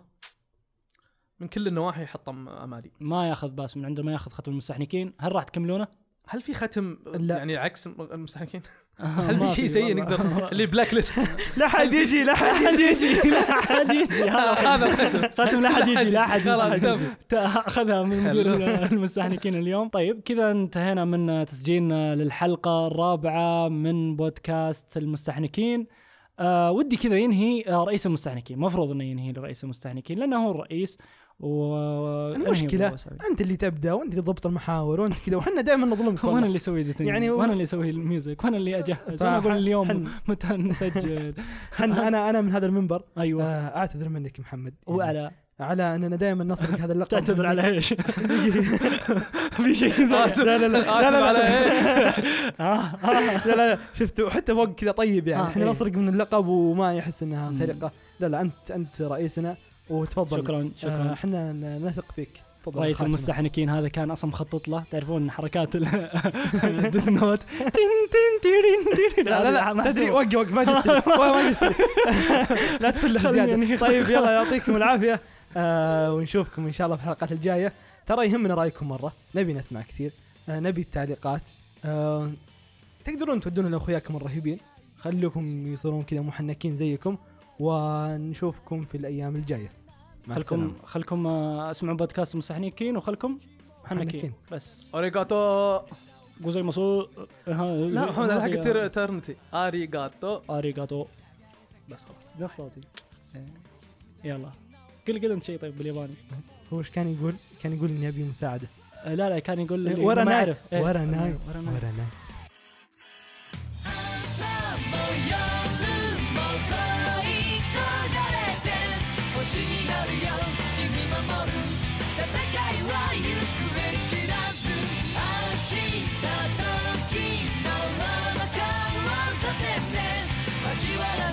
[SPEAKER 5] من كل النواحي حطم امالي
[SPEAKER 3] ما ياخذ باس من عنده ما ياخذ ختم المستحنكين هل راح تكملونه؟
[SPEAKER 5] هل في ختم
[SPEAKER 4] لا.
[SPEAKER 5] يعني عكس المستحنكين؟ هل
[SPEAKER 3] هل
[SPEAKER 5] في شيء سيء نقدر اللي بلاك ليست
[SPEAKER 4] لا حد يجي لا حد
[SPEAKER 3] حد يجي لا حد يجي هذا
[SPEAKER 5] هذا الختم
[SPEAKER 3] خاتم لا حد يجي لا حد
[SPEAKER 5] خلاص
[SPEAKER 3] يجي
[SPEAKER 5] تم.
[SPEAKER 3] تا- اخذها من مدير المستهلكين اليوم طيب كذا انتهينا من تسجيلنا للحلقه الرابعه من بودكاست المستحنكين آه ودي كذا ينهي آه، رئيس المستحنكين مفروض انه ينهي لرئيس المستحنكين لانه هو الرئيس و
[SPEAKER 4] المشكلة
[SPEAKER 3] أنهي أبو
[SPEAKER 4] انت اللي تبدا وانت اللي ضبط المحاور وانت كذا وحنا دائما نظلمك
[SPEAKER 3] أسامة. وانا
[SPEAKER 4] والله.
[SPEAKER 3] اللي اسوي editing،
[SPEAKER 4] يعني هو-
[SPEAKER 3] وانا اللي اسوي الميوزك وانا اللي اجهز وانا اقول
[SPEAKER 4] فحن-
[SPEAKER 3] اليوم
[SPEAKER 4] حن-
[SPEAKER 3] متى نسجل
[SPEAKER 4] حنا انا انا من هذا المنبر آه،
[SPEAKER 3] ايوه
[SPEAKER 4] اعتذر منك محمد يعني
[SPEAKER 3] وعلى
[SPEAKER 4] على اننا دائما نصلك هذا اللقب
[SPEAKER 3] تعتذر على ايش؟ في شيء
[SPEAKER 5] اسف لا لا لا اسف
[SPEAKER 4] لا، لا.
[SPEAKER 5] على إيه.
[SPEAKER 3] آه، آه.
[SPEAKER 4] لا لا لا شفت حتى فوق كذا طيب يعني
[SPEAKER 3] آه،
[SPEAKER 4] احنا
[SPEAKER 3] إيه.
[SPEAKER 4] نسرق من اللقب وما يحس انها
[SPEAKER 3] مم.
[SPEAKER 4] سرقه لا لا انت انت رئيسنا وتفضل
[SPEAKER 3] شكرا
[SPEAKER 4] آه،
[SPEAKER 3] شكرا
[SPEAKER 4] احنا ن- نثق فيك تفضل
[SPEAKER 3] رئيس
[SPEAKER 4] خاتم.
[SPEAKER 3] المستحنكين هذا كان اصلا مخطط له تعرفون حركات الديث نوت تن تن تيرين تيرين
[SPEAKER 4] لا لا لا تدري وقف وقف ما جلست ما جلست لا تفلح
[SPEAKER 3] خلني أنهي.
[SPEAKER 4] زياده طيب يلا يعطيكم العافيه آه ونشوفكم ان شاء الله في الحلقات الجايه ترى يهمنا رايكم مره نبي نسمع كثير آه نبي التعليقات آه تقدرون تودون لاخوياكم الرهيبين خلوكم يصيرون كذا محنكين زيكم ونشوفكم في الايام الجايه مع السلامه
[SPEAKER 3] خلكم خلكم آه، اسمعوا بودكاست المستحنكين وخلكم حنكين
[SPEAKER 4] حنكين.
[SPEAKER 3] بس
[SPEAKER 5] اريغاتو
[SPEAKER 3] جوزي آه، مسو
[SPEAKER 5] لا محمد هذا حق ايترنتي اريغاتو
[SPEAKER 3] اريغاتو
[SPEAKER 5] بس خلاص
[SPEAKER 3] نفس صوتي يلا قل قل انت شيء طيب بالياباني
[SPEAKER 4] هو ايش كان يقول؟ كان يقول اني ابي مساعده
[SPEAKER 3] آه، لا لا كان يقول لي ما
[SPEAKER 4] ورا ناي
[SPEAKER 3] أعرف. إيه.
[SPEAKER 4] ورا ناي
[SPEAKER 3] ورا
[SPEAKER 4] ورا
[SPEAKER 3] ناي
[SPEAKER 4] ناي
[SPEAKER 1] 「星になるよ君守る」「戦いは行方知らず」「明日と昨日を交わさせて」「交わら